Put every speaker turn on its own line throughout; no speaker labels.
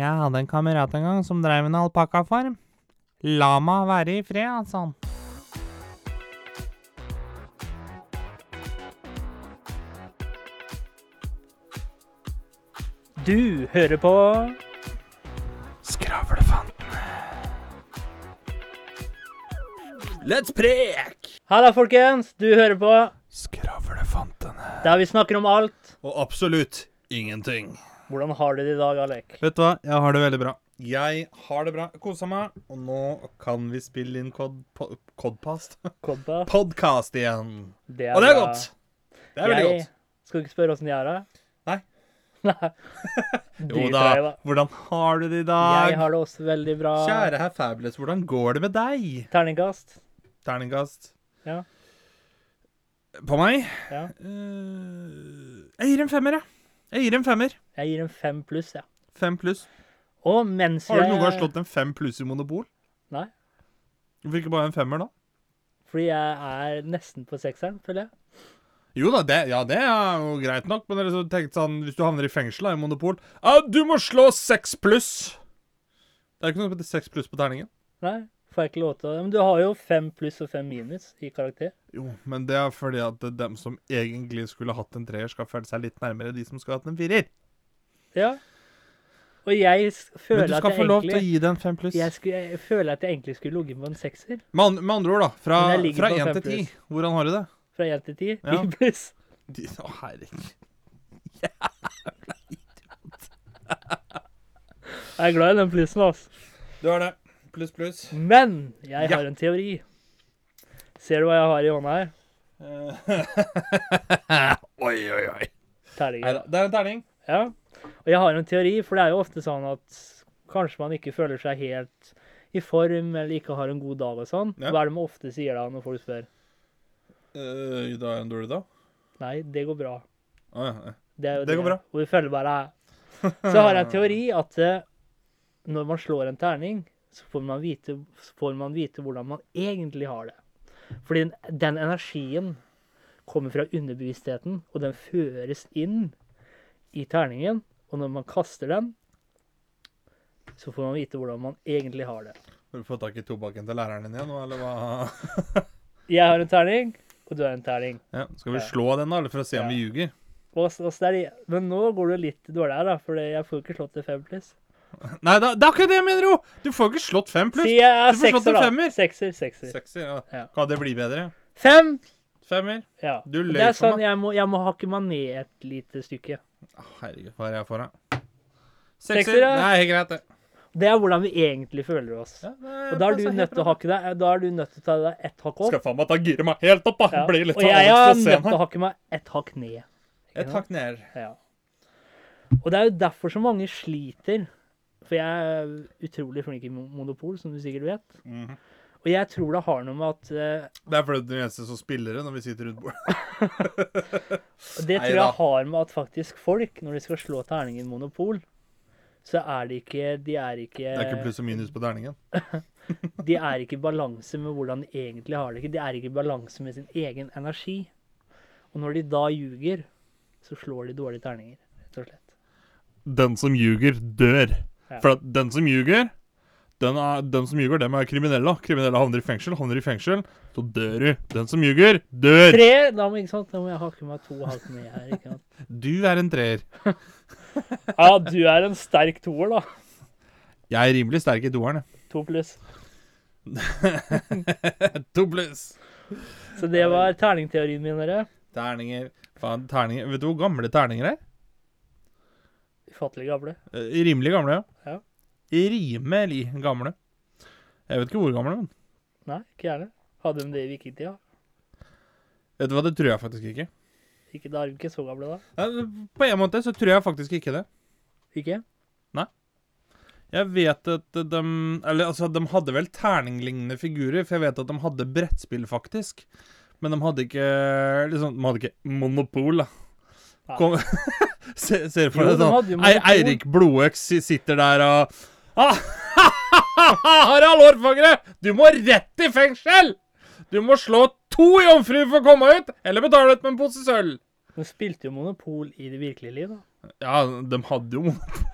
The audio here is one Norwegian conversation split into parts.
Jeg hadde en kamerat en gang som drev en alpakkafarm. La meg være i fred, altså. sa han.
Du hører på
Skravlefantene.
Let's prek!
Halla, folkens! Du hører på
Skravlefantene.
der vi snakker om alt.
Og absolutt ingenting.
Hvordan har du det i dag, Alek?
Vet du hva, jeg har det veldig bra. Jeg har det bra. Kosa meg. Og nå kan vi spille inn kod, po, Kodpast?
Kobba?
Podkast igjen.
Det
Og det er
bra.
godt! Det er veldig
jeg
godt.
skal ikke spørre åssen jeg har det.
Nei.
Nei.
Jo
Driter jeg i
da.
det.
Hvordan har du det i
Jeg
dag?
har det også veldig bra.
Kjære herr Fabulous, hvordan går det med deg?
Terningkast.
Terningkast.
Ja.
På meg?
Ja.
Eh, jeg gir en femmer, jeg. Jeg gir en femmer.
Jeg gir en fem pluss, jeg. Ja.
Fem pluss.
Og mens
Har du
jeg
noen gang slått en fem pluss i Monopol?
Nei.
Hvorfor ikke bare en femmer, da?
Fordi jeg er nesten på sekseren, føler jeg.
Jo da, det, ja, det er jo greit nok, men dere så tenkte sånn, hvis du havner i fengsel da, i Monopol Ja, du må slå seks pluss! Det er ikke noe som heter seks pluss på terningen.
Nei, får jeg ikke lov til å Men du har jo fem pluss og fem minus i karakter.
Jo, men det er fordi at dem som egentlig skulle hatt en treer, skal føle seg litt nærmere de som skulle hatt en firer.
Ja. Og jeg s-
Men
føler
du
at
skal
jeg
få lov til å
egentlig
gi det en fem pluss.
jeg, skulle, jeg føler at jeg egentlig skulle ligget på en sekser.
Med, an, med andre ord, da. Fra,
Men jeg ligger
fra
på
én
fem
til ti. Hvordan har du det?
Fra én til ti.
Ja.
Ti pluss.
De, å, herregud.
Jeg er glad i den plussen, altså.
Du har det. Pluss, pluss.
Men jeg
Ja.
har en teori. Ser du hva jeg har i hånda her?
Eh. oi, oi, oi.
Terninger.
Neida, Det er en terning.
Ja. Og jeg har en teori, for det er jo ofte sånn at kanskje man ikke føler seg helt i form, eller ikke har en god dag og sånn.
Ja.
Hva er det man ofte sier da når folk spør?
Uh, da er det en dårlig dag.
Nei, det går bra.
Å, ja, ja.
er jo
Det går bra.
Og vi føler bare Så har jeg en teori at eh, når man slår en terning, så får man vite, så får man vite hvordan man egentlig har det. Fordi den, den energien kommer fra underbevisstheten, og den føres inn i terningen. Og når man kaster den, så får man vite hvordan man egentlig har det.
Har du fått tak i tobakken til læreren din igjen nå, eller hva?
Jeg har en terning, og du har en terning.
Ja, skal vi
Ja.
slå den, da, eller for å se om
Ja.
vi ljuger?
Og, så- og så er det, men nå går det litt dårligere, da, for jeg får jo ikke slått til fem pluss.
Nei, da, det er akkurat det jeg mener, jo! Du får ikke slått fem pluss.
Si jeg er
du får slått en
sekser, da.
femmer.
Sekser, sekser.
Sekser, ja.
Ja.
Kan det bli bedre?
Fem!
Femmer.
Ja.
Du løy
det er
for
sånn, jeg må, jeg må hakke meg ned et lite stykke.
Å, herregud, hva er jeg for, da?
Sekser, ja.
Nei, helt greit, det.
Det er hvordan vi egentlig føler oss.
Ja, det
Og da er du
passer helt
nødt til å
bra.
hakke deg, da er du nødt til å ta deg ett hakk opp.
Skal faen meg ta giret meg helt opp, da.
Ja.
Blir litt
Og
sånn Alex
jeg er
på
nødt til
scenen.
å hakke meg ett hakk ned.
Et hakk ned.
Ja. Og det er jo derfor så mange sliter. For jeg er utrolig flink i mo- monopol, som du sikkert vet.
Mhm.
Og jeg tror det har noe med at eh,
Det er fordi du er den eneste som spiller det når vi sitter rundt bordet.
Det tror
Neida.
jeg har med at faktisk folk, når de skal slå terningen monopol, så er det ikke De er ikke,
Det er ikke pluss og minus på terningen.
De er ikke i balanse med hvordan de egentlig har det. ikke. De er ikke i balanse med sin egen energi. Og når de da ljuger, så slår de dårlige terninger, rett og slett.
Den som ljuger, dør.
Ja.
For at den som ljuger, den, er, den som ljuger, dem er kriminelle. Kriminelle havner i fengsel, havner i fengsel, så dør du. Den som ljuger, dør.
Tre! Da må, ikke sant? Da må jeg hakke meg to hakk ned her. ikke sant?
Du er en treer.
Ja, du er en sterk toer, da.
Jeg er rimelig sterk i toeren. jeg.
To pluss.
To pluss.
Så det var terningteorien min, dere.
Terninger. Faen, terninger. Vet du hvor gamle terninger er?
Ufattelig gamle.
Eh, Rimelig gamle,
Ja.
Rimelig gamle. Jeg vet ikke hvor gamle, men
Nei, ikke gjerne. Hadde de det i vikingtida?
Vet du hva, det tror jeg faktisk ikke.
Ikke da er de ikke så gamle, da.
Eh, På en måte så tror jeg faktisk ikke det.
Ikke?
Jeg vet at de Eller altså, de hadde vel terninglignende figurer, for jeg vet at de hadde brettspill, faktisk. Men de hadde ikke liksom, De hadde ikke monopol, da.
Nei.
Kom, se, ser for
Jo,
deg
de
sånn
hadde
Ei,
jo monopol.
Eirik Blodøks si- sitter der og ah, Harald Hårfagre! Du må rett i fengsel! Du må slå to jomfruer for å komme ut, eller betale ut med en pose sølv.
De spilte jo Monopol i det virkelige liv, da.
Ja, de hadde jo monopol.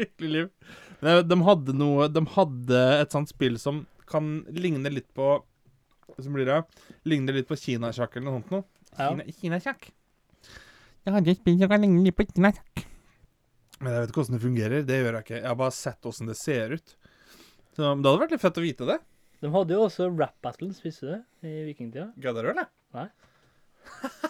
Hyggelig liv. Nei, De hadde noe De hadde et sånt spill som kan ligne litt på Som blir det? Ligner litt på kinasjakk eller noe sånt noe.
Ja.
Kina- Kinasjakk. Jeg hadde et spill som kan ligne litt på kinasjakk. Men jeg vet ikke åssen det fungerer. Det gjør jeg ikke. Jeg har bare sett åssen det ser ut. Så men det hadde vært litt fett å vite det.
De hadde jo også rap battles, visste du det, i vikingtida.
Gødder du, eller?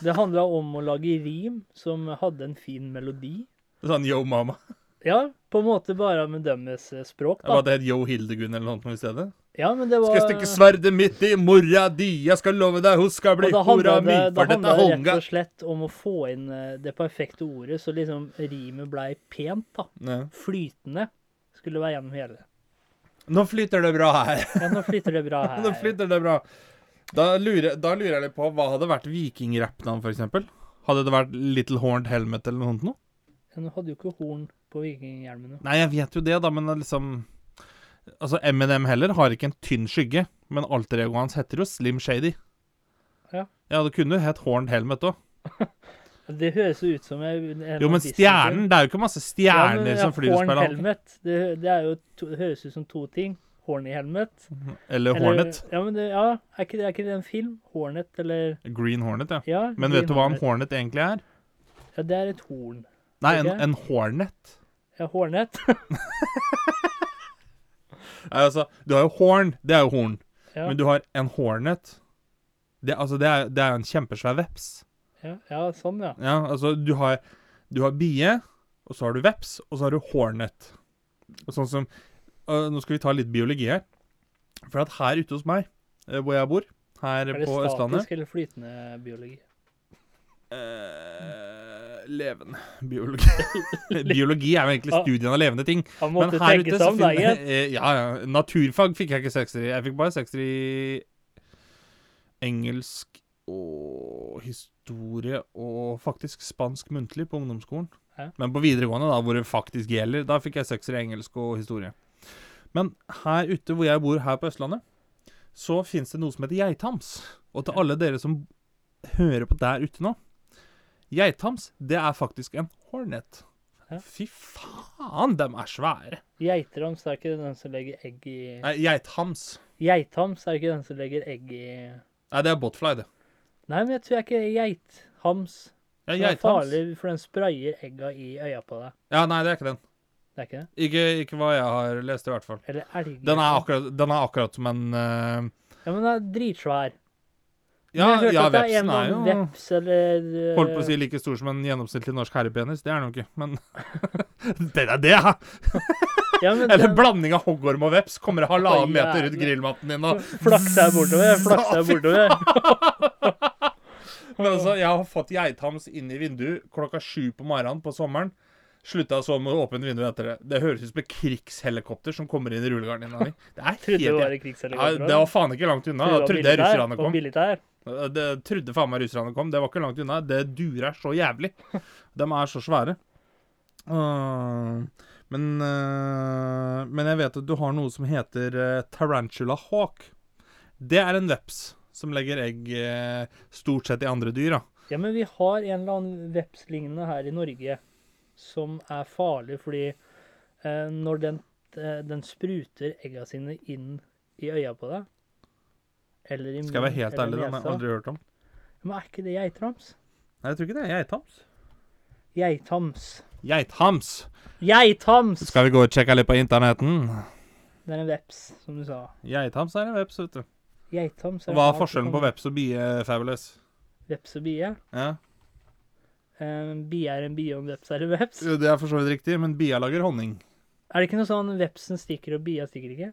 Det handla om å lage rim som hadde en fin melodi.
Sånn Yo Mama.
Ja, på en måte bare med deres eh, språk,
Jeg bare
da.
hadde hett Yo Hildegunn eller noe sånt i stedet.
Ja, men det
Skal
var
jeg stikke sverdet mitt i mora di, jeg skal love deg, hun skal bli
Og da
hora
handla
mi,
det, da
for dette
handla
er
det rett
honga.
og slett om å få inn eh, det perfekte ordet, så liksom rimet blei pent, da.
Ja.
Flytende skulle være gjennom hele.
Nå flyter det bra her.
Ja, nå flyter det bra
Nå
her.
flyter det bra. Da lurer, da lurer jeg litt på, hva hadde vært vikingrappnavn, for eksempel? Hadde det vært Little Horned Helmet eller noe sånt noe?
Ja, nå hadde jo ikke horn på vikinghjelmene.
Nei, jeg vet jo det, da, men det er liksom Altså, Eminem heller har ikke en tynn skygge, men alter egoet hans heter jo Slim Shady.
Ja.
Ja, det kunne jo hett Horned Helmet òg.
Det høres jo ut som en en
Jo, men
Disney-film.
stjernen Det er jo ikke masse
Ja,
stjerner
men, ja,
som flyr og
horn
spiller alt.
helmet, det, det er jo to, det høres ut som to ting. Horn i helmet.
Eller
eller-
Hornet.
Ja, men det, ja, er ikke, det, er ikke det en film? Hornet, eller
Green Hornet, ja.
Ja.
Men
green
vet du hva en hornet
hornet.
egentlig er?
Ja, det er et horn.
Nei, en,
Ikke?
en hornet.
Ja, hornet.
Nei, altså, du har jo horn, det er jo horn.
Ja,
Men du har en hornet. Det, altså, det er, det er en kjempesvær veps.
ja, ja sånn, ja.
Ja, altså, du har, du har bie, og så har du veps, og så har du hornet. Og sånn som øh, Nå skal vi ta litt biologi her. For at her ute hos meg, øh, hvor jeg bor, her
Er det
på
statisk
Østlandet
eller flytende biologi?
eh, Levende biologi. biologi er jo egentlig
Ah.
studien av levende ting.
Han
Men
måtte
her
tenke
ute
seg
så
om, da,
finner
gitt.
Eh, Ja, ja. Naturfag fikk jeg ikke sekser i. Jeg fikk bare sekser i engelsk og historie og faktisk spansk muntlig på ungdomsskolen.
Ja.
Men på videregående, da, hvor det faktisk gjelder, da fikk jeg sekser i engelsk og historie. Men her ute hvor jeg bor her på Østlandet, så fins det noe som heter geitams. Og til alle dere som hører på der ute nå Geitams, det er faktisk en hornet.
Ja.
Fy faen, de er svære!
Geitams er ikke den som legger egg i
Nei, geithams.
Geithams er ikke den som legger egg i
Nei, det er botfly, det.
Nei, men jeg tror jeg ikke geithams.
Ja,
Den er
geithams.
farlig, for den sprayer egga i øya på deg.
Ja, nei, det er ikke den.
Det er ikke det?
Ikke, ikke hva jeg har lest, i hvert fall.
Eller elg.
Den er akkurat, den er akkurat som en eh,
Ja, men den er dritsvær.
Ja,
Men jeg
ja
hørte at det er
vepsen
en
er
eller
jo
annen veps eller eh,
Holdt på å si like stor som en gjennomsnittlig norsk herrepenis. Det er den jo ikke, men Det er det, ja!
ja, men
Eller
den
blanding av hoggorm og veps. Kommer det halvannen
Å,
meter ut
jævlig.
grillmatten din og
Flaksa jeg bortover. Flaksa jeg bortover.
Men altså, jeg har fått geithams inn i vinduet klokka sju på morgenen på sommeren. Slutta så med å åpne vinduet etter det. Det høres ut som et krigshelikopter som kommer inn i rullegardina mi. Det er
Trodde det
helt
var i
Ja, det var faen ikke langt unna. Da trodde jeg russerne kom.
Billig der.
Det trodde faen meg russerne kom. Det var ikke langt unna. Det durer så jævlig. De er så svære. Øh, Men øh, Men jeg vet at du har noe som heter øh, tarantula hawk. Det er en veps som legger egg øh, stort sett i andre dyr, da.
Ja, men vi har en eller annen vepslignende her i Norge som er farlig fordi eh, når den, eh, den spruter egga sine inn i øya på deg, eller i munnen
Skal jeg være helt
eller
ærlig, den har jeg
nesa.
aldri hørt om.
Men er ikke det geitrams?
Nei, jeg tror ikke det er geithams.
Geithams.
Geithams!
Geithams!
Skal vi gå og sjekke litt på internetten?
Det er en veps, som du sa.
Geithams er en veps, vet du.
Geithams
Hva
en
er
art
forskjellen på
som-
veps og bie, eh, Fabulous?
Veps og bie.
Ja.
En bie er en bie, og en veps er en veps.
Jo, Det er for så vidt riktig, men bia lager honning.
Er det ikke noe sånn vepsen stikker og bia stikker ikke?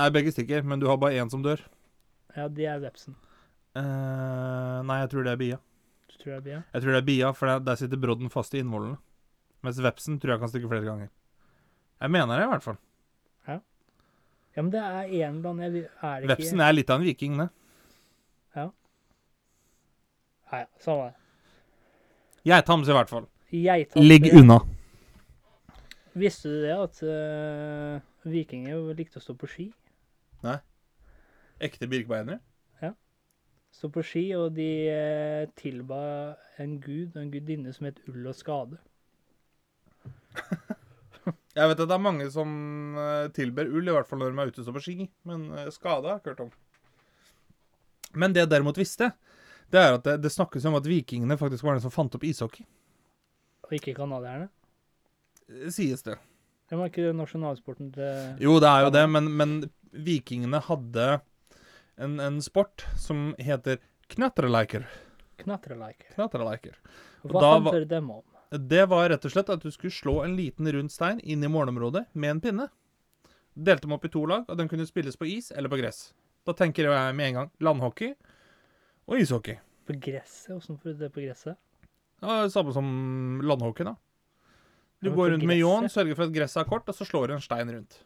Nei, begge stikker, men du har bare én som dør.
Ja, det er vepsen.
Eh, nei, jeg tror det er bia.
Du tror det er bia?
Jeg tror det er bia, for der, der sitter brodden fast i innvollene. Mens vepsen tror jeg kan stikke flere ganger. Jeg mener det, i hvert fall.
Ja, men det er en eller annen jeg vil- Er det ikke
Vepsen er litt av en viking, det.
Nei, samme det.
Geithams, i hvert fall.
Geithams
Ligg unna.
Visste du det at eh, vikinger likte å stå på ski?
Ekte birkbeinere?
Stå på ski, og de eh, tilba en gud og en gudinne som het Ull og Skade.
Jeg vet at det er mange som eh, tilber ull, i hvert fall når de er ute og står på ski. Men eh, skade har jeg ikke hørt om. Men det jeg derimot visste, det er at det, det snakkes om at vikingene faktisk var de som fant opp ishockey.
Og ikke canadierne.
Eh, Sies det.
Det var ikke nasjonalsporten til
Jo, det er jo det, men, men vikingene hadde en, en sport som heter knatreleiker.
knatreleiker.
Knatreleiker. Og
Hva
da var-
handler dem om?
Det var rett og slett at du skulle slå en liten rund stein inn i målområdet med en pinne. Delte dem opp i to lag, og den kunne spilles på is eller på gress. Da tenker jeg med en gang landhockey og ishockey.
På gresset? Åssen får du det på gresset?
Ja, det samme som landhockey, da. Du
Ja, men
går
på
rundt med ljåen,
gresset?
sørger for at gresset er kort, og så slår du en stein rundt.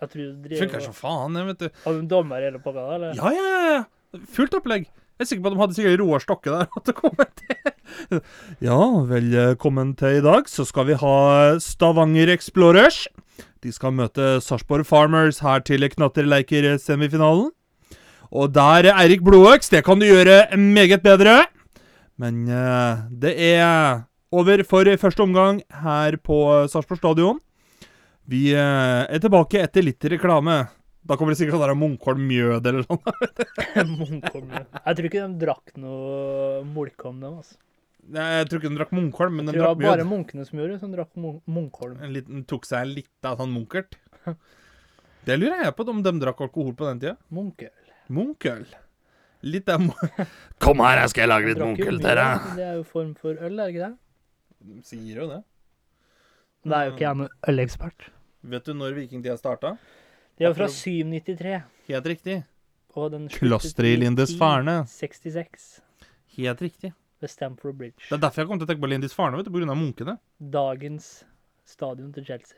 Jeg tror du
Det funker som
driver
faen, det, vet du.
Har du en dommer eller pakka da, eller?
Ja, ja, ja, ja. Fullt opplegg. Jeg er sikker på at de hadde sikkert Roar Stokke der. at det kom en til. Ja, velkommen til i dag. Så skal vi ha Stavanger Explorers. De skal møte Sarpsborg Farmers her til Knatterleiker-semifinalen. Og der er Eirik Blodøks. Det kan du gjøre meget bedre. Men eh, det er over for første omgang her på Sarpsborg stadion. Vi eh, er tilbake etter litt reklame. Da kommer det sikkert sånn der Munkholm Mjød eller noe.
Munkholm. ja. Jeg tror ikke de drakk noe Molkom, dem. Altså.
Nei, Jeg tror ikke de drakk Munkholm, men de
Det var
drakk
bare
mjød.
munkene som gjorde det, som drakk mun- Munkholm.
En liten, tok seg en litt av sånn munkert. Det lurer jeg på om de drakk alkohol på den tida.
Munkeøl.
Munkøl. Litt av mu-
Kom her, jeg skal lage
De
litt
drakk jo
munkel
mye,
til deg.
men Det er jo form for øl, er det ikke det?
De sier jo det.
Det er jo ikke jeg noen ølekspert.
Vet du når vikingtida starta?
De er jo fra 793.
Helt riktig.
Og den sluttet
Klosteret i Lindisfarne.
1066
Helt riktig.
ved Stamford
Det
Bridge.
er derfor jeg kom til å tenke på Lindisfarne, vet du, på grunn av munkene.
Dagens stadion til Chelsea.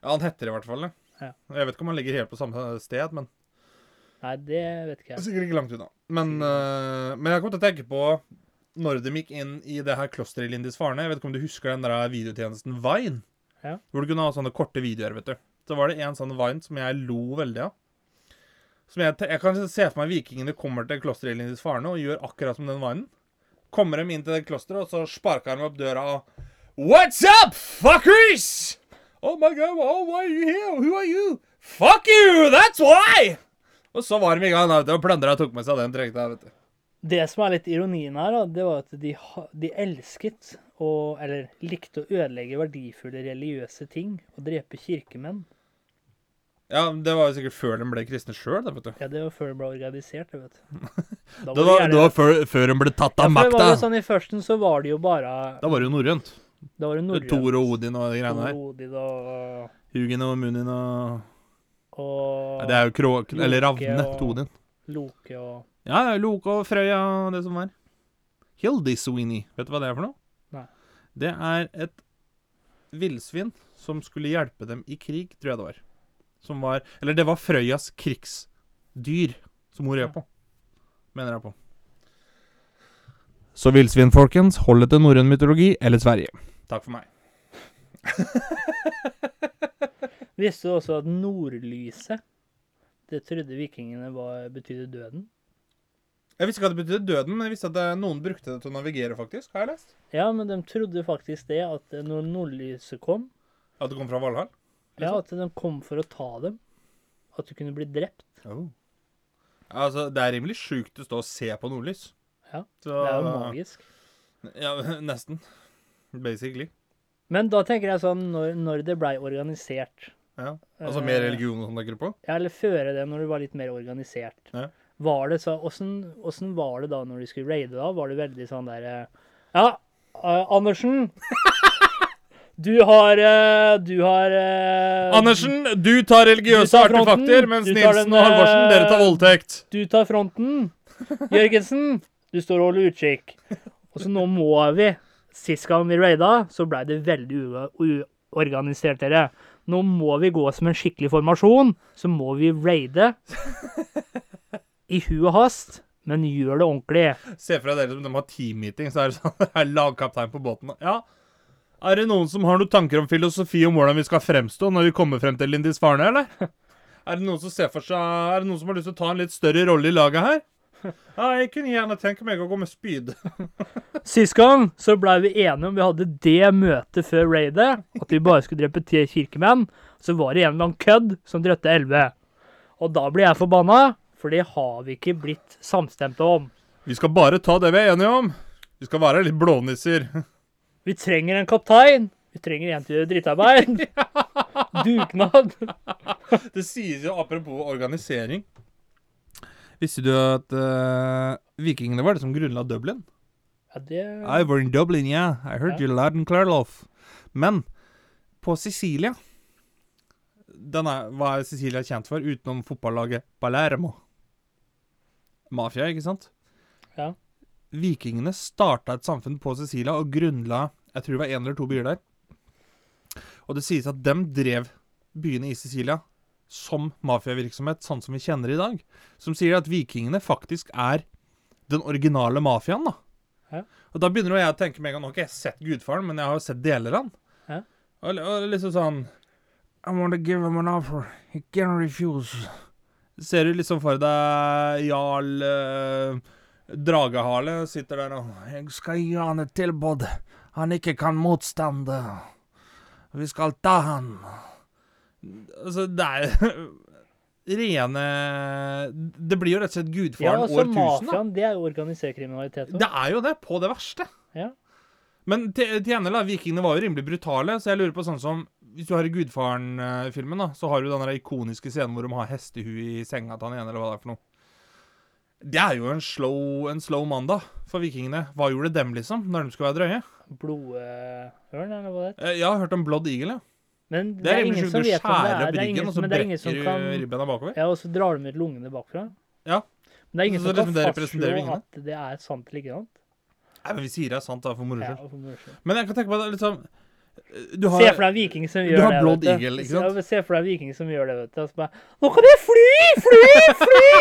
Ja, han heter det i hvert fall. det.
Ja.
Jeg vet ikke om han ligger helt på samme sted, men
Nei, det vet ikke jeg.
Sikkert ikke langt unna. Men, eh, men jeg kom til å tenke på når de gikk inn i det her klosteret i Lindisfarne. Jeg vet ikke om du husker den der videotjenesten Vine?
Ja.
Hvor du kunne ha sånne korte videoer, vet du. Så var det en sånn Vine som jeg lo veldig av. Som jeg, te- jeg kan se for meg vikingene kommer til klosteret i Lindisfarne og gjør akkurat som den Vinen. Kommer de inn til det klosteret, og så sparker de opp døra og What's up, fuckers? Oh my god, oh, why are you here? Who are you? Fuck you, that's why! Og så var de i gang da, vet du, og plundra og tok med seg den trengte. her, vet du.
Det som er litt ironien her, da, det var at de, ha- de elsket å Eller likte å ødelegge verdifulle religiøse ting og drepe kirkemenn.
Ja, Det var jo sikkert før de ble kristne sjøl. Det vet du.
Ja, det var før det ble organisert, det, vet du. Da
Det
gjerne-
var, det var før, før de ble tatt av
Ja, for det
makta.
var jo sånn I førsten så var det jo bare
Da var det jo norrønt.
Da var det norrønt.
Thor og Odin og de greiene der.
Thor, Odin og,
Hugin og Munin og
og
Nei, Det er jo kråken Eller
Loke
ravnene
og-
til Odin.
Loke og
Ja, det er Loke og Frøya og det som var. Hildisweenie. Vet du hva det er for noe?
Nei.
Det er et villsvin som skulle hjelpe dem i krig, tror jeg det var. Som var Eller det var Frøyas krigsdyr, som hun red på. Mener jeg på. Så villsvin, folkens, hold det til norrøn mytologi eller Sverige. Takk for meg.
Visste du også at nordlyset Det trodde vikingene var, betydde døden?
Jeg visste ikke at det betydde døden, men jeg visste at eh, noen brukte det til å navigere, faktisk. Har jeg lest?
Ja, men de trodde faktisk det, at når nordlyset kom
At det kom fra Valhall?
Ja, at de kom for å ta dem. At du kunne bli drept.
Altså, det er rimelig sjukt å stå og se på nordlys.
Ja,
Så,
Det er jo magisk.
Ja, nesten. Basically.
Men da tenker jeg sånn når, når det blei organisert
Ja. Altså mer
Eh,
religion og sånn tenker du på?
Ja, eller føre det, når det var litt mer organisert.
Ja.
Var det så, hvordan, hvordan var det da når du skulle raide da? Var det veldig sånn der eh, Ja, eh, Andersen! Du har eh, Du har eh,
Andersen, du tar religiøse
Du tar fronten,
artefakter, mens
du tar
Nilsen
den,
og Halvorsen, dere tar
eh,
voldtekt.
Du tar fronten. Jørgensen, du står og holder utkikk. Og så nå må vi. Sist gang vi raida, så blei det veldig u- uorganisert, dere. Nå må vi gå som en skikkelig formasjon. Så må vi raide i hu og hast, men gjør det ordentlig.
Se for deg dere som de har teammeeting, så er det sånn det er lagkaptein på båten. Ja. Er det noen som har noen tanker om filosofi om hvordan vi skal fremstå når vi kommer frem til Lindisfarne, eller? Er det noen som ser for seg Er det noen som har lyst til å ta en litt større rolle i laget her? Ja, jeg kunne gjerne tenke meg å gå med spyd.
Sist gang så blei vi enige om vi hadde det møtet før raidet, at vi bare skulle drepe ti kirkemenn. Så var det en eller annen kødd som drepte elleve. Og da blir jeg forbanna, for det har vi ikke blitt samstemte om.
Vi skal bare ta det vi er enige om. Vi skal være litt blånisser.
Vi trenger en kaptein. Vi trenger en til å gjøre drittarbeid. Dugnad.
Det sies jo apropos organisering. Visste du at eh, vikingene var det som grunnla Dublin?
Ja, det
I were in Dublin, yeah. I heard
Ja.
you loud and clear, Rolf. Men på Sicilia den er, Hva er Sicilia kjent for utenom fotballaget Palermo? Mafia, ikke sant?
Ja.
Vikingene starta et samfunn på Sicilia og grunnla Jeg tror det var én eller to byer der. Og det sies at dem drev byene i Sicilia som mafiavirksomhet, sånn som vi kjenner i dag. Som sier at vikingene faktisk er den originale mafiaen, da. Og da begynner jo jeg å tenke meg Nå har ikke jeg sett Gudfaren, men jeg har jo sett deler av den.
Ja.
Og, og liksom sånn I want to give him an offer. He can refuse. Ser du liksom for deg Jarl eh, Dragehale sitter der og Jeg skal gi han et tilbud. Han ikke kan motstande. Vi skal ta han. Altså, det er rene Det blir jo rett og slett
ja,
Gudfaren
altså
år 1000, da.
mafiaen, det er jo organisert kriminalitet. også.
Det er jo det, på det verste.
Ja.
Men til, til ene, da, vikingene var jo rimelig brutale, så jeg lurer på sånn som Hvis du har i Gudfaren-filmen, da, så har du den der ikoniske scenen hvor de har hestehue i senga til han ene, eller hva det er for noe. Det er jo en slow, en slow mandag for vikingene. Hva gjorde dem, liksom, når de skulle være drøye?
Blodørn, eller hva det heter.
Eh, Jeg har hørt om Blood Eagle, ja.
Men det,
Det er
er
rimelig
ingen
sjukt.
som
Du
vet om det
skjærer
er.
opp
Det er
ryggen,
ingen,
og så
men det er ingen som
brekker
kan
du ribbena bakover.
Ja, og så drar de ut lungene bakfra.
Ja.
Men det er ingen
Så
som
liksom
kan
det representerer
fastslå
vingene?
at det er sant eller ikke sant.
Nei, men Vi sier det er sant, da, for moro
Ja,
skyld.
for moro skyld.
Men jeg kan tenke meg det liksom eh, Du
Se for
har
deg en viking som
Du
gjør
har
det.
Blood
vet du.
Eagle, ikke sant?
Ja, Se for deg en viking som gjør det, vet du. Og så bare Nå kan jeg fly! Fly!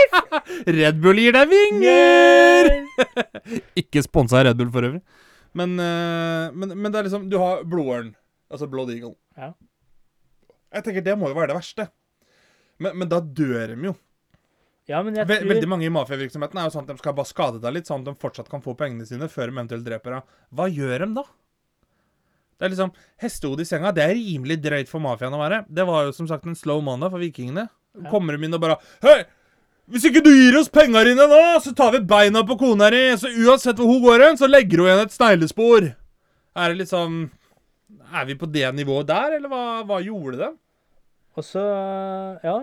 Red Bull gir deg vinger!
Fly!
Ikke sponsa av Red Bull for øvrig. Men, eh, men, men det er liksom Du har blodørn, altså Blood Eagle.
Ja.
Jeg tenker Det må jo være det verste. Men, men da dør de jo.
Ja, men jeg
Ve veldig
tror
mange i mafiavirksomheten er jo sånn at de skal bare skade deg litt, sånn at de fortsatt kan få pengene sine før de eventuelt dreper deg. Hva gjør de da? Det er liksom Hestehode i senga, det er rimelig drøyt for mafiaen å være. Det var jo som sagt en slow mandag for vikingene.
Ja.
Kommer de inn og bare Hei! Hvis ikke du gir oss penga dine nå, så tar vi beina på kona di! Så uansett hvor hun går hen, så legger hun igjen et sneglespor! Er det liksom Er vi på det nivået der, eller hva, hva gjorde de?
Og så Ja.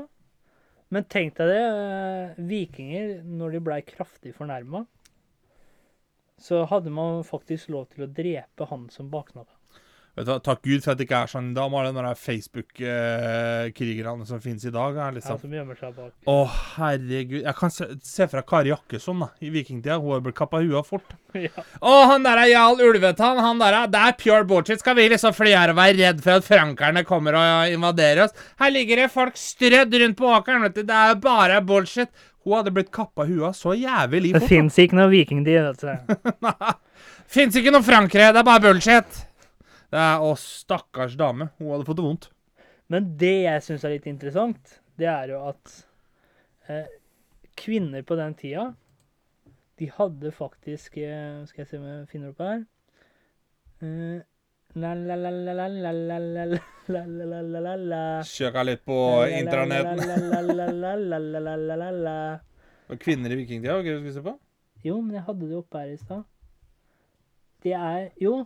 Men tenk deg det. eh, Vikinger, når de blei kraftig fornærma, så hadde man faktisk lov til å drepe han som baksnakka.
Vet du, hva, takk Gud for at det ikke er sånn. Da må den der Facebook-krigerne som finnes i dag. Er
Han
liksom.
som gjemmer seg bak.
Å, herregud. Jeg kan se, se fra Kari Jakkesson da, i vikingtida. Hun har blitt kappa huet av fort.
Ja.
Å, han der er Jarl Ulvetann. Han der er, det er pure bullshit. Skal vi liksom fly her og være redd for at frankerne kommer og invaderer oss? Her ligger det folk strødd rundt på åkeren. vet du. Det er bare bullshit. Hun hadde blitt kappa huet av så jævlig
Det
fort.
fins ikke noe vikingtid, vet du.
Fins ikke noe Frankrike. Det er bare bullshit. Det er, Å, stakkars dame. Hun hadde fått det vondt.
Men det jeg syns er litt interessant, det er jo at eh, kvinner på den tida, de hadde faktisk eh, Skal jeg se om jeg finner opp her Eh, la-la-la-la-la-la-la-la-la-la-la-la-la-la-la.
Søka litt på internetten.
La-la-la-la-la-la-la-la-la-la-la-la.
Og Kvinner i vikingtida, var ikke det du skulle se på?
Jo, men jeg hadde det oppe her i stad. Det er Jo,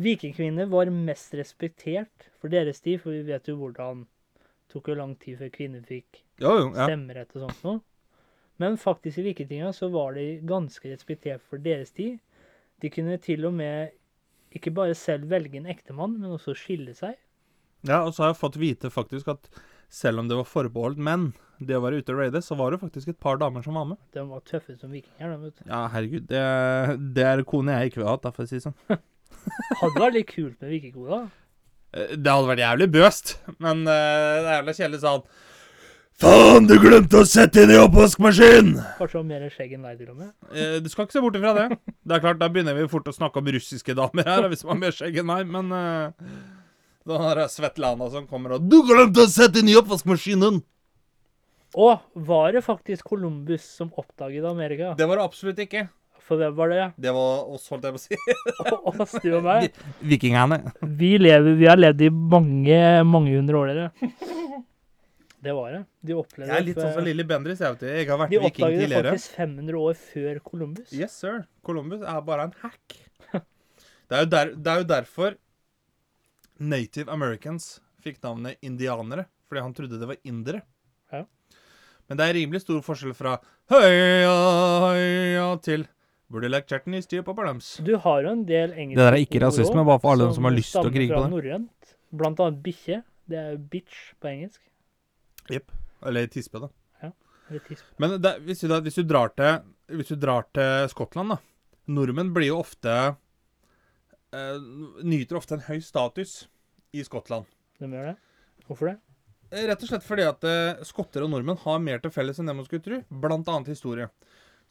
vikingkvinner var mest respektert for deres tid, for vi vet jo hvordan det tok jo lang tid før kvinner fikk
Jo, jo. Ja.
stemmerett og sånt noe. Men faktisk i vikingtida så var de ganske respektert for deres tid. De kunne til og med ikke bare selv velge en ektemann, men også skille seg.
ja, og så har jeg fått vite faktisk at selv om det var forbeholdt menn, det å være ute og raide, så var det faktisk et par damer som var med.
De var tøffe som vikinger. De, vet du.
Ja, herregud. Det, det er kone jeg ikke ville hatt, da, for å si det sånn.
Hadde vært litt kult med vikingkona.
Eh, Det hadde vært jævlig bøst, men eh, det er jævla kjedelig sånn Faen, du glemte å sette inn i oppvaskmaskinen!
Kanskje det var mer skjegg enn deg, til og med.
Eh, Du skal ikke se bort ifra det. Det er klart, Da begynner vi fort å snakke om russiske damer her, hvis man har mer skjegg enn meg, men uh, Den der Svetlana som kommer og 'Du glemte å sette inn i oppvaskmaskinen!'
Og var det faktisk Columbus som oppdaget Amerika?
Det var det absolutt ikke.
For hvem var det?
Det var oss, holdt jeg på å si.
Oss, du og meg.
Vikingene.
Vi, lever, vi har levd i mange, mange hundre år, dere. Det var det. De opplevde
Jeg er litt
det
sånn som
før-
Lilly Bendriss. Jeg, vet ikke. jeg har vært
De
viking
oppdaget det
tidligere.
faktisk 500 år før Columbus.
Yes, sir. Columbus er bare en hack. Det er jo, der, det er jo derfor Native Americans fikk navnet indianere, fordi han trodde det var indere.
Ja.
Men det er rimelig stor forskjell fra høya, høya til Burde lagt kjerten i styr på balams.
Du har jo en del engelske
Det der er ikke
ord
rasisme,
også,
bare for alle dem som har lyst til å
stammer
krige
fra
på det.
norrønt. Blant annet bikkje. Det er jo bitch på engelsk.
Jepp. Eller tispe, da.
Eller tispe.
Men det, hvis, du, da- hvis, du drar til, hvis du drar til Skottland, da Nordmenn blir jo ofte eh, Nyter ofte en høy status i Skottland.
De gjør det. Hvorfor det?
Rett og slett fordi at eh, skotter og nordmenn har mer til felles enn det man skulle tro, blant annet historie.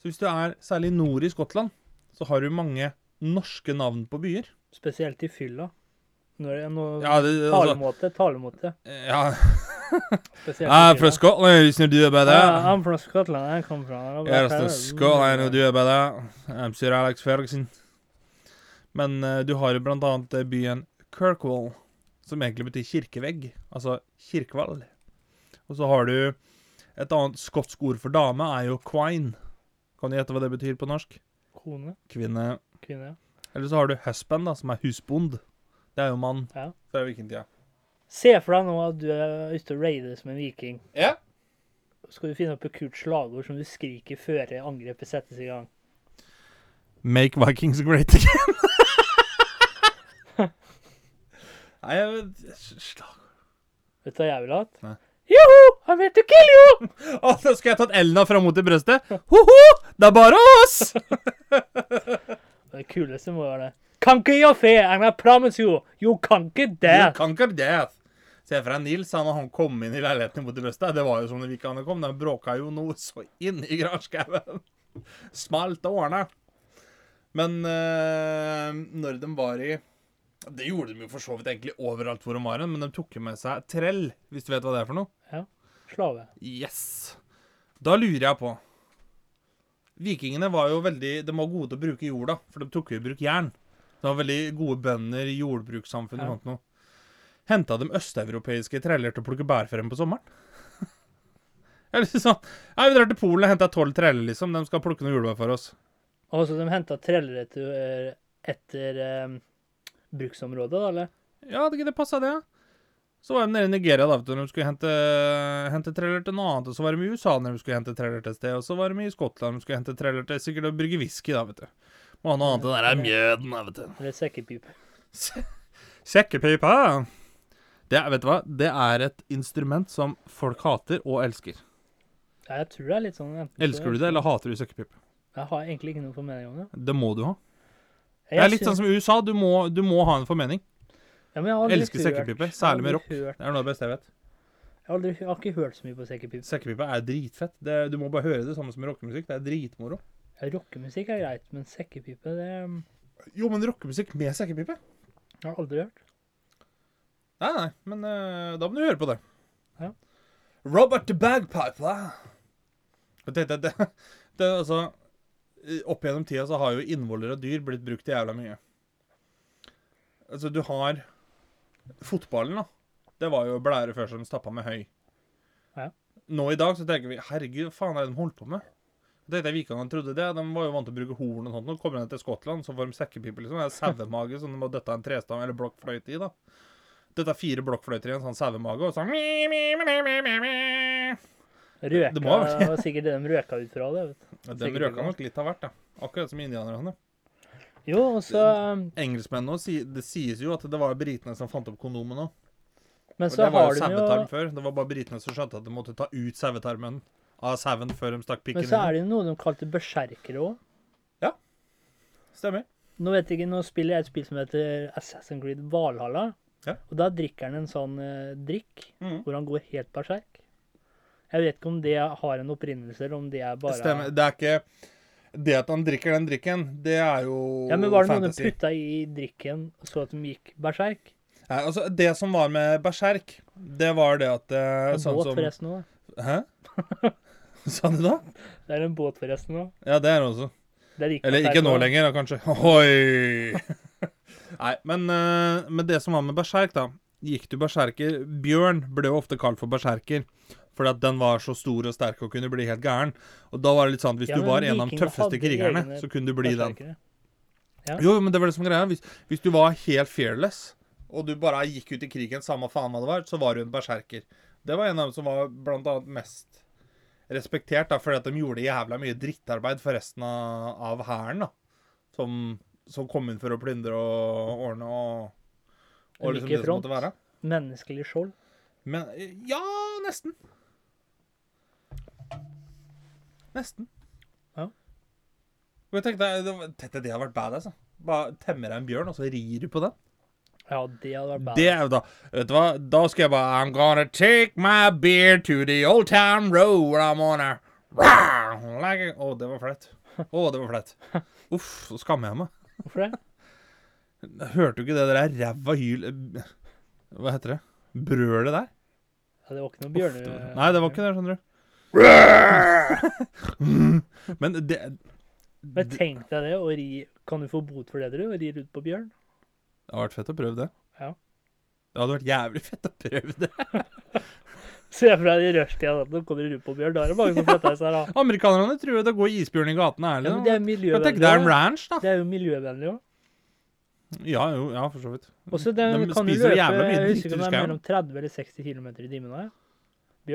Så hvis du er særlig nord i Skottland, så har du mange norske navn på byer.
Spesielt i fylla. Når det er noe
Ja, det, altså,
talemåte, talemåte.
Eh, ja.
Spesielt
I'm
i
from
fylla.
Scotland, you know, do about
Ja,
that.
I'm from Scotland. Jeg kommer fra
Yeah, that's the Scotland, you know, do about that. I'm Sir Alex Ferguson. Men eh, du har jo blant annet eh, byen Kirkwall, som egentlig betyr kirkevegg, altså kirkevall. Og så har du et annet skotsk ord for dame, er jo quine. Kan du gjette hva det betyr på norsk?
Kone.
Kvinne.
Kvinne.
Eller så har du husband, da, som er husbond. Det er jo mann.
Ja.
Fra vikingtida.
Se for deg nå at du er ute og raider som en viking.
Ja.
Skal du finne opp et kult slagord som du skriker før angrepet settes i gang?
Make Vikings great again.
Nei, jeg vet- slag.
Vet du hva jeg ville
Nei.
hatt? Joho! I'm here to kill you!
Å, nå skulle jeg tatt Elna fram mot i brøstet. Ho-ho! Det er bare oss!
Det kuleste må være det. Conquer your fear, and I promise you, you conquer
You
death.
conquer death. Se for deg Nils han, han kom inn i leiligheten mot i brøstet. Det var jo som det vikingene kom. De bråka jo noe så inn i granskauen. Smalt og ordna. Men eh, når de var i Det gjorde de jo for så vidt egentlig overalt hvor de var, hen, men de tok jo med seg trell, hvis du vet hva det er for noe.
Slave.
Yes. Da lurer jeg på Vikingene var jo veldig De var gode til å bruke jorda, for de tok jo i bruk jern. De var veldig gode bønder i jordbrukssamfunnet og
Ja.
sånt noe. Henta de østeuropeiske treller til å plukke bær for dem på sommeren? Eller sånn Nei, vi drar til Polen og henter tolv treller, liksom. De skal plukke noen jordbær for oss.
Og så de henta trellere etter, etter eh, bruksområdet, da, eller?
Ja, det, det passa, det. Så var de nede i Nigeria da, vet du, når de skulle hente, hente treller til noe annet. Og så var de i USA når de skulle hente treller til et sted. Og så var de i Skottland når de skulle hente treller til sikkert å brygge whisky, da, vet du. Må ha noe annet enn det der er mjøden, da, vet du.
Eller sekkepipe.
Se- Sekkepipa! Det, er- vet du hva? Det er et instrument som folk hater og elsker.
Ja, jeg tror det er litt sånn enten så-
Elsker du det, eller hater du sekkepipe?
Jeg har egentlig ikke noen formening om det.
Det må du ha.
Jeg
Det er litt
synes-
sånn som i USA, du må, du må ha en formening.
ja, men jeg har aldri
elsker
hørt-
sekkepipe,
jeg har
særlig med
aldri
rock.
hørt-
Det er noe av det beste jeg vet.
Jeg har, aldri, jeg har ikke hørt så mye på sekkepipe.
Sekkepipe er dritfett. Det, du må bare høre det samme som rockemusikk. Det er dritmoro.
Ja, Rockemusikk er greit, men sekkepipe, det um,
Jo, men rockemusikk med sekkepipe?
jeg har jeg aldri hørt.
Nei, nei, men eh, da må du høre på det.
Ja.
Robert the Bagpiper. Og Det, det, det, det, er altså, i- opp gjennom tida så har jo innvoller og dyr blitt brukt jævla mye. Altså, du har fotballen, da. Det var jo blære før som stappa med høy.
Ja.
Nå i dag så tenker vi herregud, hva faen er det de holdt på med? Det er Vikingene trodde det. De var jo vant til å bruke horn og sånt. Nå kommer de til Skottland, så får de sekkepipe, liksom. Det er sauemage som de må dette en trestam eller blokkfløyte i, da. Dette er fire blokkfløyter i en sånn sauemage, og sånn mi, mi, mi, mi, mi, mi, mi.
Røka
det må
det var sikkert det de røka ut fra det. vet
De røka nok litt av hvert, da. Akkurat som indianerne.
du. Jo, og så um,
Engelskmennene òg sier Det sies jo at det var britene som fant opp kondomen òg.
Men
For
så
det var
har
jo
de
sauetarm
jo
før. Det var bare britene som skjønte at de måtte ta ut sauetarmen av sauen før de stakk pikken
Men
inn.
så er
i den.
det jo noe de kalte berserkere òg.
Stemmer.
Nå vet jeg ikke, nå spiller jeg et spill som heter Assassin's Creed Valhalla.
Ja.
Og da drikker han en sånn eh, drikk
Mhm.
hvor han går helt berserk. Jeg vet ikke om det har en opprinnelse, eller om det er bare
Stemmer. Det er ikke Det at han drikker den drikken, det er jo
Ja, men Var det noen de
fantasy.
putta i drikken, så at de gikk berserk?
Nei, altså, det som var med berserk, det var det at eh,
En
sånn
båt,
som
forresten òg.
Hæ? Hva sa de da?
Det er en båt, forresten. nå.
Ja, det er det også.
Det er like
Eller
at det
ikke
er
nå
på-
lenger, da, kanskje. Ohoi! Nei, men eh, med det som var med berserk, da Gikk du berserker Bjørn ble jo ofte kalt for berserker. Fordi at den var så stor og sterk og kunne bli helt gæren. Og da var det litt sånn at hvis
Ja,
du
men
var en av de
vikingene
tøffeste
hadde
krigerne,
egne
så kunne du bli den.
Berserkere.
Jo, men det var det som var greia. Hvis, hvis du var helt fearless, og du bare gikk ut i krigen, samme faen hva det var, så var du en berserker. Det var en av dem som var blant annet mest respektert, da, fordi at de gjorde jævla mye drittarbeid for resten av, av hæren, da. Som, som kom inn for å plyndre og ordne og, og
De
liksom
gikk i
det som
front.
måtte være.
Menneskelig skjold.
Men eh, ja, nesten. Nesten.
Ja.
Og jeg tenkte, det, var- tenk deg det hadde vært badass. da. Bare temmer deg en bjørn, og så rir du på den.
Ja, det hadde vært bad.
Det er jo da Vet du hva? Da skal jeg bare I'm gonna take my beer to the old town road I'm gonna Rawr, like it. Å, det var flaut. Å, det var flaut. Uff, så skammer jeg meg.
Hvorfor det?
Hørte du ikke det der ræva hyl... Hva heter det? Brølet der?
Ja, det var ikke noe bjørne...
Nei, det var ikke det, skjønner du. Men det
Men tenk deg det, og ri Kan du få bot for det, tror du? Og rir ut på bjørn?
Det hadde vært fett å prøve det.
Ja.
Det hadde vært jævlig fett å prøve det.
Se for deg i rushtida at nå kommer det ut på bjørn. Da er det mange som flytter seg, da.
Amerikanerne tror jo det går isbjørn i gatene,
Ja, men
ærlig.
det
Ja,
er
men tenk, det er en
miljøvennlig. også.
ranch, da.
Det er jo miljøvennlig òg.
Ja, jo, ja, for så vidt.
Og så det
Mm. De
kan du
spiser jo
løpe
jævla mye
Jeg husker
dritt i
ikke om det er
skauen.
mellom 30 eller 60 km i timen. da,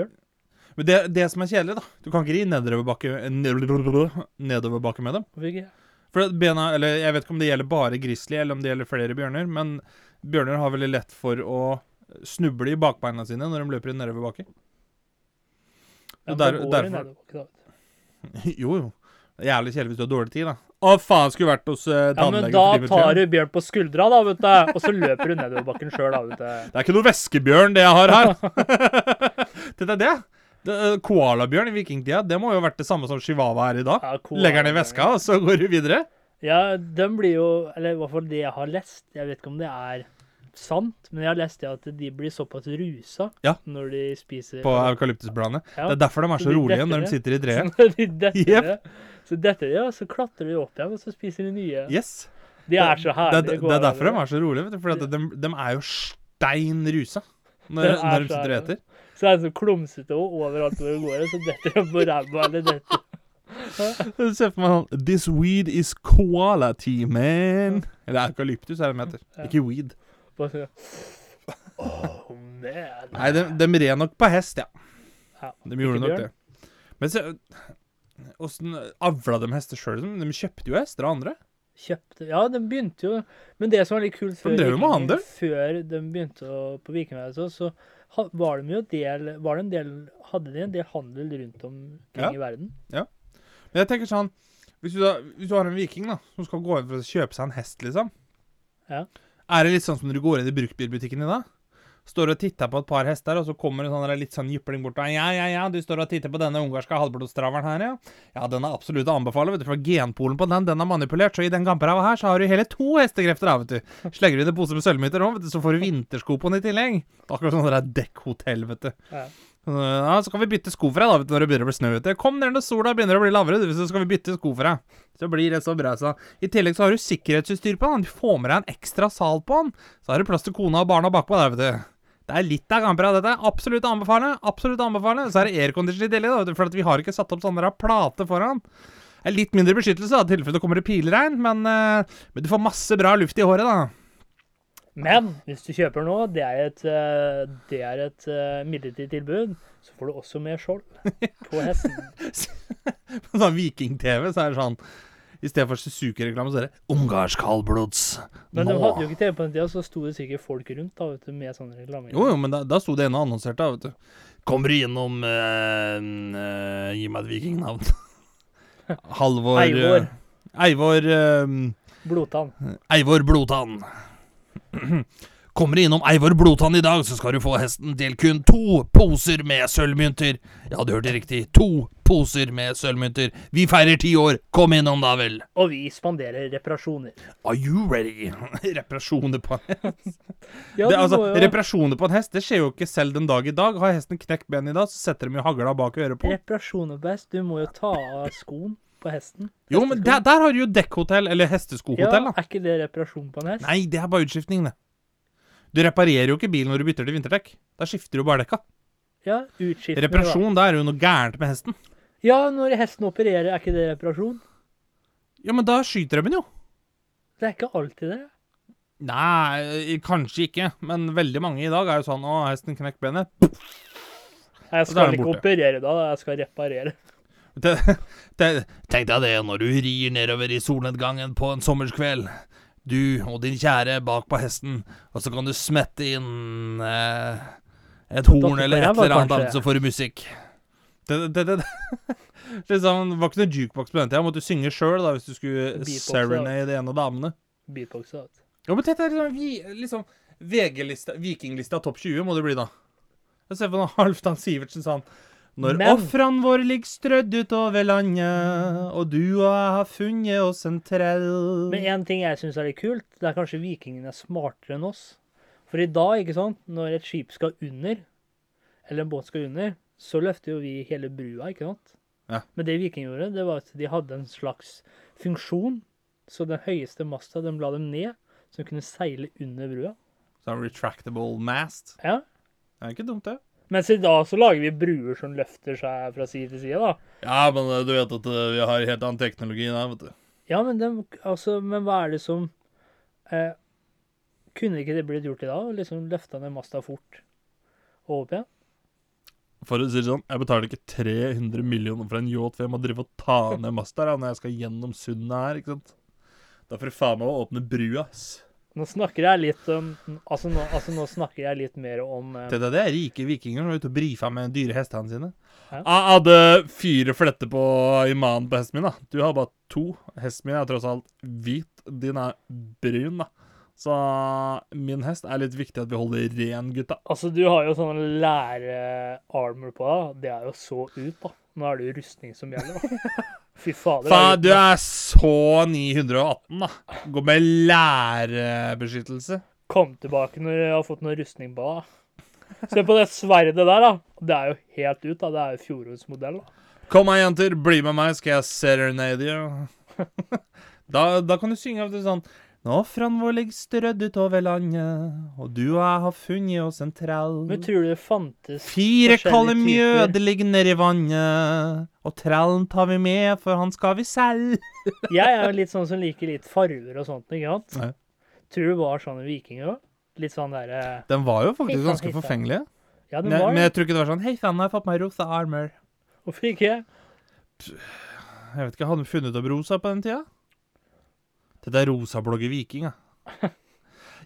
ja.
Men det, det som er kjedelig, da Du kan ikke ri nedoverbakke nedoverbakke med dem.
Hvorfor ikke?
For at bena Eller jeg vet ikke om det gjelder bare grizzly, eller om det gjelder flere bjørner, men bjørner har veldig lett for å snuble i bakbeina sine når de løper i nedoverbakke.
Ja, men
Der-
da går
derfor-
det nedover, ikke sant?
Jo, jo. Det er Jævlig kjedelig hvis du har dårlig tid, da. Å, faen, skulle vært hos uh,
Ja, men da tar du bjørn på skuldra, da, vet du. Og så løper du nedoverbakken sjøl, da, vet du.
Det er ikke noe væskebjørn, det jeg har her. Dette er det. det eh, koalabjørn i vikingtida, det må jo ha vært det samme som chihuahua er i dag.
Ja, koala-
Legger den i veska, og så går du videre.
Ja, de blir jo Eller i hvert fall det jeg har lest. Jeg vet ikke om det er sant, men jeg har lest det at de blir såpass rusa
Ja.
når de spiser
På eukalyptusbladene.
Ja.
Det er derfor de er
Så
så
de
rolige
detter
når
ned.
de sitter i treet.
Så de detter
Jep.
ned. Så detter de, og så klatrer de opp igjen, og så spiser de nye.
Yes.
De er så
Det,
herlige.
det, det er derfor de er så rolige, vet du. For at de, de er jo stein rusa
De
når, når
er
de
så
sitter og
herlige.
eter.
Så er det så klumsete og overalt hvor de går, og så detter de på ræva eller detter
Se for meg sånn This weed is koala tea, man. Eller eukalyptus er det de heter. Ikke weed.
på så- Oh, man.
Nei, de, de red nok på hest, ja.
Ja,
De gjorde
ikke
nok
bjørn.
det. Men så Åssen avla de hester sjøl? De kjøpte jo hester av andre.
Kjøpte Ja, den begynte jo Men det som var litt kult
For de drev jo med
Viking-
handel.
Før de begynte å, på Vikingveien, så, så ha- var de jo del, var det en del Hadde de en del handel rundt omkring
Ja.
i verden?
Men jeg tenker sånn hvis du, da, hvis du har en viking da som skal gå inn for å kjøpe seg en hest, liksom
Ja.
Er det litt sånn som når du går inn i bruktbilbutikken i dag? Står og titter på et par hester, og så kommer en sånn der litt sånn jypling bort og Ja, ja, ja, du står og titter på denne ungarske halvblodstraveren her, ja. Ja, den er absolutt å anbefale, vet du, for polen på den, den er manipulert, så i den gamperava her så har du hele to hestekrefter, da, vet du. Slenger du inn en pose med sølvmynter nå, vet du, så får du vintersko på den i tillegg. Det er Akkurat sånn der dekkhotell, vet du.
Ja.
Sånn, Ja, så kan vi bytte sko for deg da, vet du, når det begynner å bli snø ute. Kom ned når sola begynner å bli lavere, du, så skal vi bytte sko for deg. Så blir det så bra, så. I tillegg så har du sikkerhetsutstyr på den. Du får med deg en ekstra sal på den. Så har du plass til kona og barna bakpå der, vet du. Det er litt av kamper av dette. Absolutt anbefale. Absolutt anbefale. Så er det aircondition i tillegg, da, vet du, for at vi har ikke satt opp sånne der plate foran. Det er litt mindre beskyttelse, da, i tilfelle det kommer et pilregn, men, eh, men du får masse bra luft i håret, da.
Men hvis du kjøper nå, det er et, eh, det er et eh, midlertidig tilbud, så får du også med skjold på hesten.
På sånn Viking-TV så er det sånn I stedet for Suzuki-reklame, så er det
Ungarsk halvblods.
Men de
Nå.
hadde jo ikke TV på den tida, så sto det sikkert folk rundt da, vet du, med sånne reklamer.
Jo, jo, men da, da sto det ene og annonserte, da, vet du.
Kommer du gjennom eh, eh, Gi meg et vikingnavn.
Halvor
Eivor.
eh, Eivor eh,
Blodtann.
Eivor Blodtann.
Kommer du innom Eivor Blodtann i dag, så skal du få hesten til kun to poser med sølvmynter. Ja, du hørte riktig. To poser med sølvmynter. Vi feirer ti år. Kom innom, da vel.
Og vi spanderer reparasjoner.
Are you ready?
Reparasjoner på en hest.
Ja,
Det,
du
altså,
må jo-
reparasjoner på en hest det skjer jo ikke selv den dag i dag. Har hesten knekt benet i dag, så setter de jo hagla bak øret på.
Reparasjoner på hest. Du må jo ta av skoen på hesten.
Jo, men der, der har du jo dekkhotell, eller hesteskohotell,
Ja,
da.
Er ikke det reparasjon på en hest?
Nei, det er bare utskiftning, det. Du reparerer jo ikke bilen når du bytter til vinterdekk. Da skifter du bare dekka.
Ja, utskiftning. da.
Reparasjon, da er det jo noe gærent med hesten.
Ja, når hesten opererer, er ikke det reparasjon?
Ja, men da skyter de den jo.
Det er ikke alltid det.
Nei, kanskje ikke, men veldig mange i dag er jo sånn Å, hesten knekk benet.
Jeg
da er
skal
den
ikke
borte.
operere da, jeg skal reparere.
Det, det,
Tenk deg det når du rir nedover i solnedgangen på en sommerskveld. Du og din kjære bak på hesten, og så kan du smette inn eh, et horn eller et
ræva,
eller annet,
kanskje.
annet, så får du musikk.
det, det, det, det.
sånn,
Liksom, det var ikke noe jukebox på den tida. Måtte du synge sjøl hvis du skulle
Beatboxe, da.
serenade en av damene.
Beatbox og alt.
Ja, men tenk deg liksom, vi, liksom VG-lista, Vikinglista topp 20 må det bli, da. Jeg ser på noe Halvdan Sivertsen sa han. Når
Men-
ofrene våre ligger strødd utover landet, og du og jeg har funnet oss en trell
Men én ting jeg syns er litt kult, det er kanskje vikingene er smartere enn oss. For i dag, ikke sant, når et skip skal under, eller en båt skal under, så løfter jo vi hele brua, ikke sant?
Ja.
Men det vikingene gjorde, det var at de hadde en slags funksjon. Så den høyeste masta, den la dem ned, så de kunne seile under brua.
Sånn retractable mast.
Ja.
Det er ikke dumt, det.
Mens i dag så lager vi bruer som løfter seg fra side til side, da.
Ja, men eh, du vet at eh, vi har helt annen teknologi der, vet du.
Ja, men, dem, altså, men hva er det som eh, Kunne ikke det blitt gjort i dag? Liksom løfta ned masta fort og opp igjen?
For å si det sånn, jeg betaler ikke 300 millioner for en yacht, for jeg må drive og ta ned masta når jeg skal gjennom sundet her, ikke sant. Da får du faen meg å åpne brua, ass.
Nå snakker jeg litt om Altså, nå, altså, nå snakker jeg litt mer om eh,
Det, det, det er rike vikinger som er ute og brifa med dyre hestene sine.
Ja.
Jeg hadde fire fletter på imanen på hesten min, da. Du har bare to. Hesten min er tross alt hvit, din er brun, da. Så min hest er litt viktig at vi holder ren, gutta.
Altså, du har jo sånn lære-armor på deg. Det er jo så ut, da. Nå er det jo rustning som gjelder, da. Fy fader.
Faen, du
det er jo-
er så 918, da. Gå med lærebeskyttelse.
Kom tilbake når jeg har fått noe rustning på deg. Se på det sverdet der, da. Det er jo helt ut, da. Det er jo fjorårets modell, da.
Kom her, jenter, bli med meg, skal jeg serenade you. da, da kan du synge av det sånn Nå fran vår ligger strødd utover landet, og du og jeg har funnet oss en trell.
Men tror du det fantes
Fire
forskjellige
kalde
typer?
mjød ligger nedi vannet, og trellen tar vi med, for han skal vi selge.
Jeg er jo litt sånn som liker litt farger og sånt, ikke sant?
Ja.
Tror du var sånn en viking òg? Litt sånn derre
Den var jo faktisk
Hei sann, hei
ganske
sann.
forfengelig.
Ja, den
Men,
var
men
det.
jeg tror ikke det var sånn Hei sann, jeg har fått meg rosa armor.
Hvorfor ikke?
Jeg vet ikke, hadde de funnet opp rosa på den tida? Dette er rosablogge viking, ja.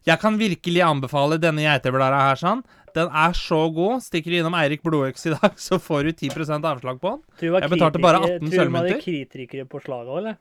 Jeg kan virkelig anbefale denne geiteblæra her, sånn. Den er så god. Stikker du innom Eirik Blodøks i dag, så får du 10 avslag på den.
Tror du det var
Jeg betalte bare
kritikere-
18
tror du man hadde
sølvmynter.
kritikere på slaget òg, eller?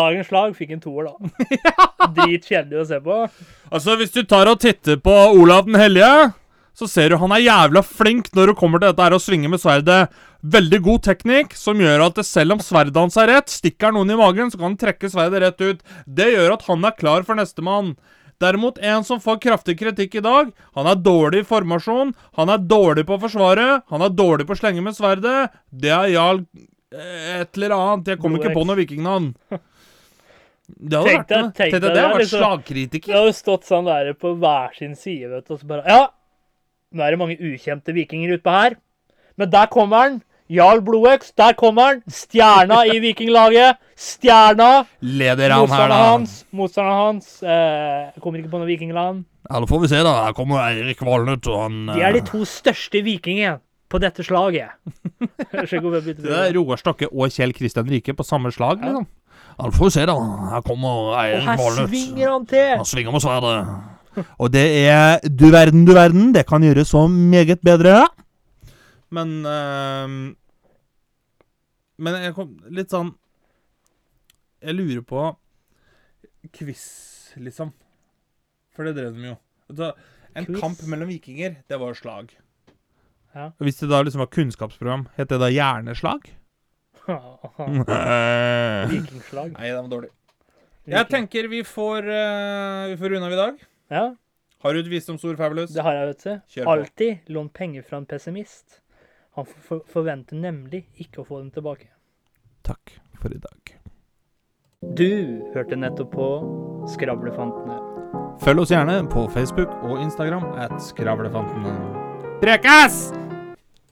Dagens slag fikk en toer, da. Dritkjedelig å se på.
Altså, hvis du tar og titter på Olav den hellige, så ser du han er jævla flink når det kommer til dette her å svinge med sverdet. Veldig god teknikk som gjør at det, selv om sverdet hans er rett, stikker noen i magen, så kan han trekke sverdet rett ut. Det gjør at han er klar for nestemann. Derimot, en som får kraftig kritikk i dag, han er dårlig i formasjon, han er dårlig på å forsvare, han er dårlig på å slenge med sverdet. Det er Jarl eh, et eller annet. Jeg kommer ikke på noe vikingnavn. Det hadde
Tenk
vært, noe.
deg- tenk
Tenk deg
deg
det hadde
det,
vært
liksom.
slagkritiker.
Det hadde stått sånn der på hver sin side, vet du, og så bare Ja, nå er det mange ukjente vikinger utpå her. Men der kommer han. Jarl Blodøks, der kommer han. Stjerna i vikinglaget. Stjerna.
Leder han her,
Motstanderen
da.
hans. Motstanderen hans. Eh, jeg kommer ikke på noe vikingland.
Ja, da får vi se, da. Her kommer Eirik Valnøtt, og han
De er
eh,
de to største vikingene på dette slaget. Skjønner ikke hvorfor jeg bytter
Det er
bilde.
Roar Stokke og Kjell Kristian Ryke på samme slag,
Ja.
liksom.
Ja, da får vi se, da. Her kommer
Og
Eirik
her
Valnøtt.
svinger han til!
Han svinger med sverdet.
Og det er du verden, du verden. Det kan gjøres så meget bedre. Men ehm, Men jeg kom litt sånn Jeg lurer på quiz, liksom. For det drev de jo. Altså, En
Quiz.
kamp mellom vikinger, det var slag.
Ja.
Hvis det da liksom var kunnskapsprogram, het det da hjerneslag? Nei,
Vikingslag.
den var dårlig. Jeg tenker vi får, eh, vi får runda av i dag.
Ja,
Har du et visdomsord, Fabulous?
det har jeg, vet
Kjør
du.
på.
Alltid lån penger fra en pessimist. Han for- for- forventer nemlig ikke å få dem tilbake.
Takk for i dag.
Du hørte nettopp på Skravlefantene.
Følg oss gjerne på Facebook og Instagram at Skravlefantene. Prekas!